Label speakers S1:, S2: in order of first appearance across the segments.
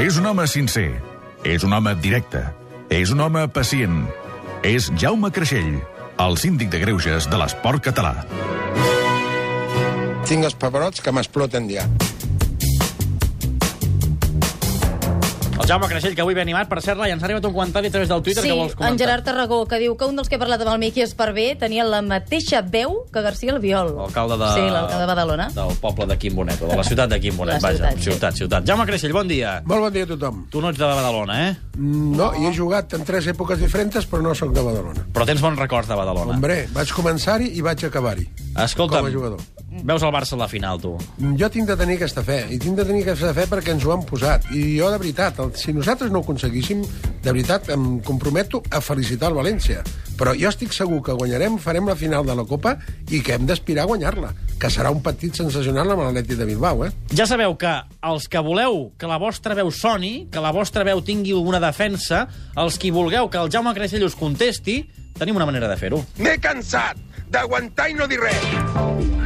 S1: És un home sincer. És un home directe. És un home pacient. És Jaume Creixell, el síndic de greuges de l'esport català.
S2: Tinc els paperots que m'exploten ja.
S3: El Jaume Creixell, que avui ve animat, per cert, i ens ha arribat un comentari a través del Twitter
S4: Sí,
S3: que vols comentar.
S4: en Gerard Tarragó, que diu que un dels que ha parlat amb el Miqui Esparvé tenia la mateixa veu que García Albiol.
S3: L'alcalde de...
S4: Sí, l'alcalde de Badalona.
S3: Del poble de Quimbonet, o de la ciutat de Quimbonet,
S4: La
S3: vaja.
S4: ciutat, sí.
S3: ciutat, ciutat. Jaume Creixell, bon dia.
S5: Molt bon dia a tothom.
S3: Tu no ets de Badalona, eh?
S5: No, hi he jugat en tres èpoques diferents, però no sóc de Badalona.
S3: Però tens bons records de Badalona.
S5: Hombre, vaig començar-hi i vaig acabar-hi.
S3: Escolta'm,
S5: Com a jugador.
S3: veus el Barça a la final, tu.
S5: Jo tinc de tenir aquesta fe, i tinc de tenir aquesta fe perquè ens ho han posat. I jo, de veritat, el, si nosaltres no ho aconseguíssim, de veritat, em comprometo a felicitar el València. Però jo estic segur que guanyarem, farem la final de la Copa i que hem d'aspirar a guanyar-la, que serà un partit sensacional amb l'Atleti de Bilbao, eh?
S3: Ja sabeu que els que voleu que la vostra veu soni, que la vostra veu tingui una defensa, els qui vulgueu que el Jaume Creixell us contesti, tenim una manera de fer-ho.
S2: M'he cansat d'aguantar i no dir res.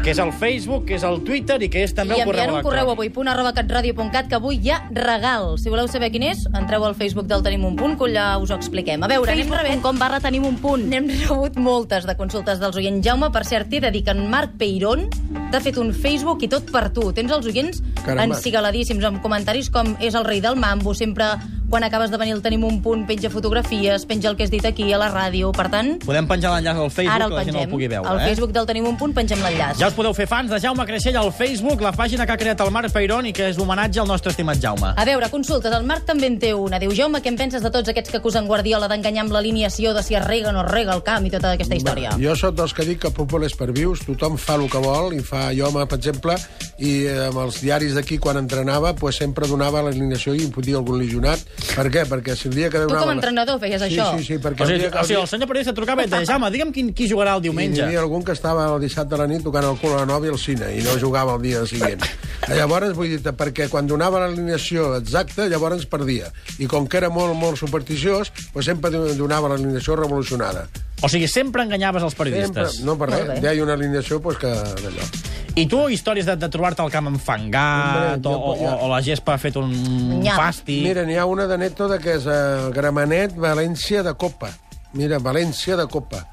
S3: Que és el Facebook, que és el Twitter i que és també
S4: I
S3: el correu
S4: enviant un correu avui, punt arroba catradio.cat, que avui hi ha regal. Si voleu saber quin és, entreu al Facebook del Tenim un punt, que allà us ho expliquem. A veure, facebook.com barra Tenim un punt. N'hem rebut moltes de consultes dels oients. Jaume, per cert, t'he de dir que en Marc Peirón t'ha fet un Facebook i tot per tu. Tens els oients
S5: Caramba.
S4: encigaladíssims, amb comentaris com és el rei del mambo, sempre quan acabes de venir el Tenim un punt, penja fotografies, penja el que has dit aquí a la ràdio. Per tant,
S3: Podem penjar l'enllaç al Facebook,
S4: ara el
S3: que la gent el
S4: pengem.
S3: pugui veure.
S4: al
S3: eh?
S4: Facebook del Tenim un punt pengem l'enllaç.
S3: Ja us podeu fer fans de Jaume Creixell al Facebook, la pàgina que ha creat el Marc Peirón i que és homenatge al nostre estimat Jaume.
S4: A veure, consultes, el Marc també en té una. Diu, Jaume, què en penses de tots aquests que acusen Guardiola d'enganyar amb l'alineació, de si es rega o no es rega el camp i tota aquesta història?
S5: Bueno, Jo sóc dels que dic que Popol és per vius, tothom fa el que vol, i fa jo, home, per exemple, i eh, amb els diaris d'aquí, quan entrenava, pues, sempre donava l'alineació i em podia algun legionat. Per què? Perquè si el dia que
S4: Tu
S5: donava...
S4: com a entrenador feies
S5: sí,
S4: això?
S5: Sí, sí, perquè
S3: O sigui,
S5: el dia que...
S3: o sigui, el senyor periodista trucava i et deia, Jaume, digue'm quin, qui jugarà el
S5: I n'hi
S3: diumenge.
S5: havia algun que estava el dissabte a la nit tocant el cul a la nòvia al cine i no jugava el dia següent. Llavors, vull dir perquè quan donava l'alineació exacta, llavors perdia. I com que era molt, molt supersticiós, pues sempre donava l'alineació revolucionada.
S3: O sigui, sempre enganyaves els periodistes.
S5: Sempre, no per
S4: Molt
S5: res,
S4: bé.
S5: deia una alineació pues, que d'allò.
S3: I tu, històries de, de trobar-te al camp enfangat,
S5: Hombre, jo-
S3: o, o, o, o la gespa ha fet un
S4: Nyam.
S3: fàstic...
S5: Mira, n'hi ha una de neto de que és eh, Gramenet, València de Copa. Mira, València de Copa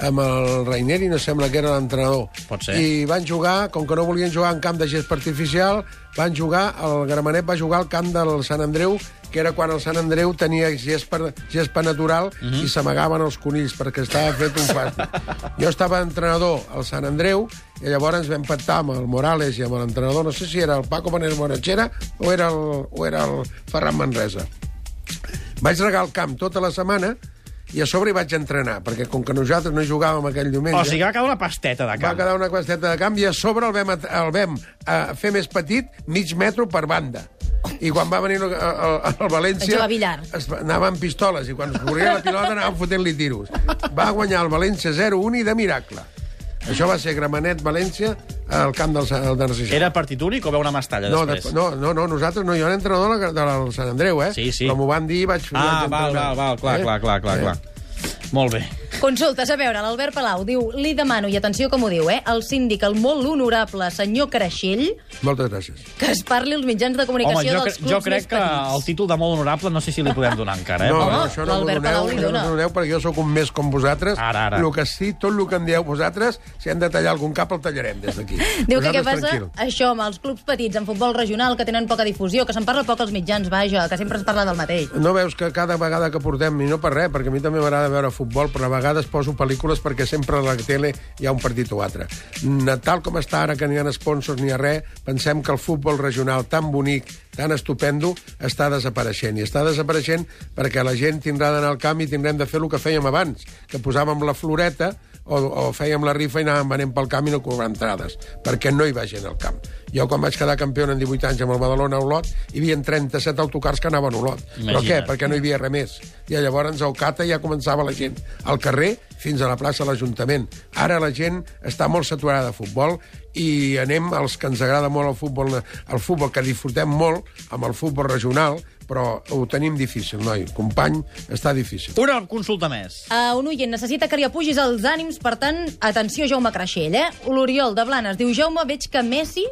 S5: amb el Raineri, no sembla que era l'entrenador.
S3: Pot ser.
S5: I van jugar, com que no volien jugar en camp de gespa artificial, van jugar, el Gramenet va jugar al camp del Sant Andreu, que era quan el Sant Andreu tenia gespa, gespa natural
S3: Mhm.
S5: i s'amagaven els conills, perquè estava fet un fàstic. jo estava entrenador al Sant Andreu, i llavors vam pactar amb el Morales i amb l'entrenador, no sé si era el Paco Manel Monachera o era el, o era el Ferran Manresa. Vaig regar el camp tota la setmana i a sobre hi vaig entrenar, perquè com que nosaltres no jugàvem aquell diumenge...
S3: O sigui, va quedar una pasteta de
S5: Va
S3: camp.
S5: quedar una costeta de camp i a sobre el vam, at- el vam eh, fer més petit, mig metro per banda. I quan va venir el, el, el
S4: El
S5: València...
S4: Jove Villar.
S5: Es, va- anava amb pistoles i quan es corria la pilota anava fotent-li tiros. Va guanyar el València 0-1 i de miracle. Això va ser Gramenet-València al camp del, Sa- del Narcís.
S3: Era partit únic o veu una mastalla
S5: No, de,
S3: després?
S5: no, no, no, nosaltres no, jo era entrenador del, del Sant Andreu, eh?
S3: Sí, sí.
S5: Com ho van dir, vaig...
S3: Ah,
S5: vaig
S3: val,
S5: entrenar.
S3: val, val, clar,
S5: Eh?
S3: clar, clar, clar,
S5: Eh.
S3: clar. Molt bé.
S4: Consultes, a veure, l'Albert Palau diu, li demano, i atenció com ho diu, eh, el síndic, el molt honorable senyor Creixell,
S5: Moltes gràcies.
S4: que es parli als mitjans de
S3: Home,
S4: comunicació
S3: jo,
S4: dels
S3: cre-
S4: clubs
S3: jo crec
S4: més
S3: que
S4: petits.
S3: el títol de molt honorable no sé si li podem donar encara, eh?
S5: No,
S3: però-
S5: no,
S4: Home,
S5: això no m'ho
S4: l'Albert Palau
S5: doneu,
S4: li
S5: això no
S4: dona.
S5: m'ho doneu, perquè jo sóc un més com vosaltres.
S3: Ara, ara.
S5: El que sí, tot el que em dieu vosaltres, si hem de tallar algun cap, el tallarem des d'aquí.
S4: Diu que
S5: Vosaltres,
S4: què passa?
S5: tranquil.
S4: Això, amb els clubs petits, en futbol regional, que tenen poca difusió, que se'n parla poc als mitjans, vaja, que sempre es parla del mateix.
S5: No veus que cada vegada que portem, i no per res, perquè a mi també m'agrada veure futbol, però a vegades poso pel·lícules perquè sempre a la tele hi ha un partit o altre. Mm, Tal com està ara, que no hi ha sponsors ni hi ha res, pensem que el futbol regional tan bonic, tan estupendo, està desapareixent. I està desapareixent perquè la gent tindrà d'anar al camp i tindrem de fer el que fèiem abans, que posàvem la floreta o, o fèiem la rifa i anàvem venent pel camp i no cobrar entrades, perquè no hi va gent al camp. Jo, quan vaig quedar campió en 18 anys amb el Badalona a Olot, hi havia 37 autocars que anaven a Olot. Però què?
S3: Imagina't.
S5: Perquè no hi havia res més. I llavors al Cata ja començava la gent al carrer fins a la plaça de l'Ajuntament. Ara la gent està molt saturada de futbol i anem als que ens agrada molt el futbol, el futbol que disfrutem molt amb el futbol regional, però ho tenim difícil, noi. Company, està difícil.
S3: Una consulta més.
S4: Uh, un oient necessita que li apugis els ànims, per tant, atenció, Jaume Creixell, eh? L'Oriol de Blanes diu, Jaume, veig que Messi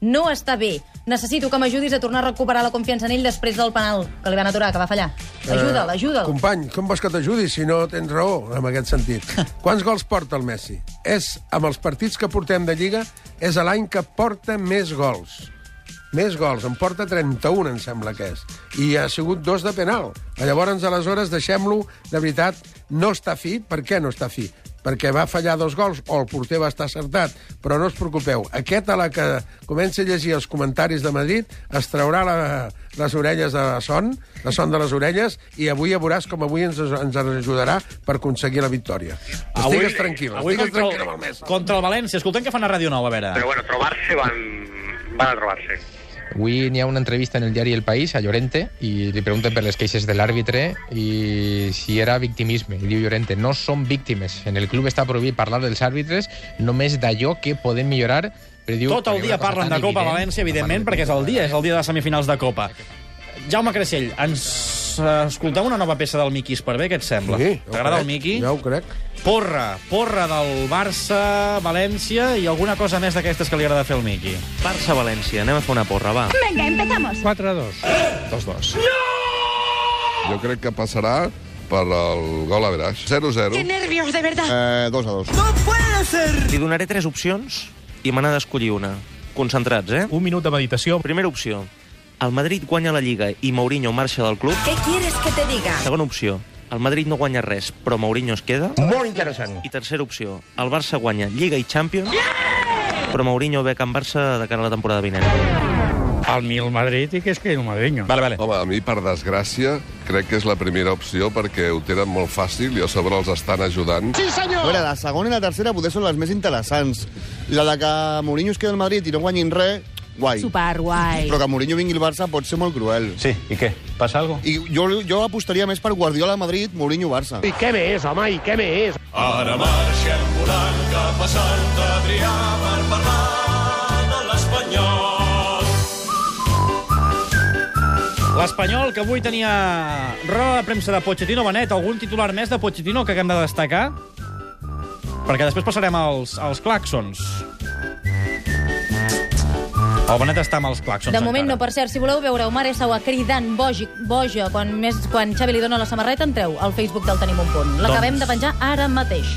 S4: no està bé. Necessito que m'ajudis a tornar a recuperar la confiança en ell després del penal, que li van aturar, que va fallar. Ajuda'l, ajuda'l.
S5: Company, com vols que t'ajudi si no tens raó, en aquest sentit? Quants gols porta el Messi? És, amb els partits que portem de Lliga, és l'any que porta més gols. Més gols, en porta 31, em sembla que és. I ha sigut dos de penal. Llavors, aleshores, deixem-lo, de veritat, no està fi. Per què no està fi? Perquè va fallar dos gols, o el porter va estar acertat. Però no us preocupeu, aquest a la que comença a llegir els comentaris de Madrid es traurà la, les orelles de la son, la son de les orelles, i avui ja veuràs com avui ens, ens ajudarà per aconseguir la victòria. Avui, estigues tranquil,
S3: avui
S5: estigues
S3: contra,
S5: tranquil amb el
S3: el,
S5: Messi.
S3: contra el València. Escoltem què fan a Ràdio 9, a veure.
S6: Pero bueno, trobarse van, van a trobarse.
S7: Avui n'hi ha una entrevista en el diari El País a Llorente i li pregunten per les queixes de l'àrbitre i si era victimisme. I diu Llorente, no són víctimes. En el club està prohibit parlar dels àrbitres només d'allò que podem millorar. Però diu,
S3: Tot el
S7: perquè
S3: dia
S7: una cosa
S3: parlen de
S7: tan
S3: Copa
S8: eh?
S7: evident,
S3: València,
S7: no
S3: evidentment,
S7: parlen
S3: perquè
S7: de
S3: és el dia, és el dia de semifinals de Copa. Jaume Creixell, ens eh, escoltem una nova peça del Miquis per bé, què et sembla?
S5: Sí, ja ho
S3: T'agrada el
S5: crec,
S3: Miqui?
S5: Ja ho crec.
S3: Porra, porra del Barça, València i alguna cosa més d'aquestes que li agrada fer al Miqui.
S9: Barça-València, anem a fer una porra, va.
S10: Jo crec que passarà per el gol a veraix. 0-0. Que nervios, de verdad. Eh, 2 a 2.
S9: Li donaré tres opcions i m'ha d'escollir una. Concentrats, eh?
S8: Un minut de meditació.
S9: Primera opció. El Madrid guanya la Lliga i Mourinho marxa del club.
S11: ¿Qué quieres que te diga?
S9: Segona opció. El Madrid no guanya res, però Mourinho es queda.
S2: Molt interessant.
S9: I tercera opció. El Barça guanya Lliga i Champions, però Mourinho ve a Can Barça de cara a la temporada vinent.
S8: Al mi el Madrid i que es quedi el Madriño.
S3: Vale, vale.
S10: Home, a mi, per desgràcia, crec que és la primera opció perquè ho tenen molt fàcil i a sobre els estan ajudant. Sí,
S11: A veure, la segona i la tercera poder són les més interessants. La de que Mourinho es queda al Madrid i no guanyin res, guai.
S4: Super guai.
S11: Però que Mourinho vingui al Barça pot ser molt cruel.
S8: Sí, i què? Passa algo?
S11: I jo, jo apostaria més per Guardiola a Madrid, Mourinho Barça. I què més, home, i què més?
S3: L'Espanyol, que avui tenia roda de premsa de Pochettino, Benet, algun titular més de Pochettino que haguem de destacar? Perquè després passarem als, als claxons. El Benet està amb els claxons
S4: De moment no,
S3: encara.
S4: per cert, si voleu veure Omar Essaua cridant bogi, boja quan, més, quan Xavi li dona la samarreta, entreu al Facebook del Tenim un punt. L'acabem
S3: Doncs-
S4: de penjar ara mateix.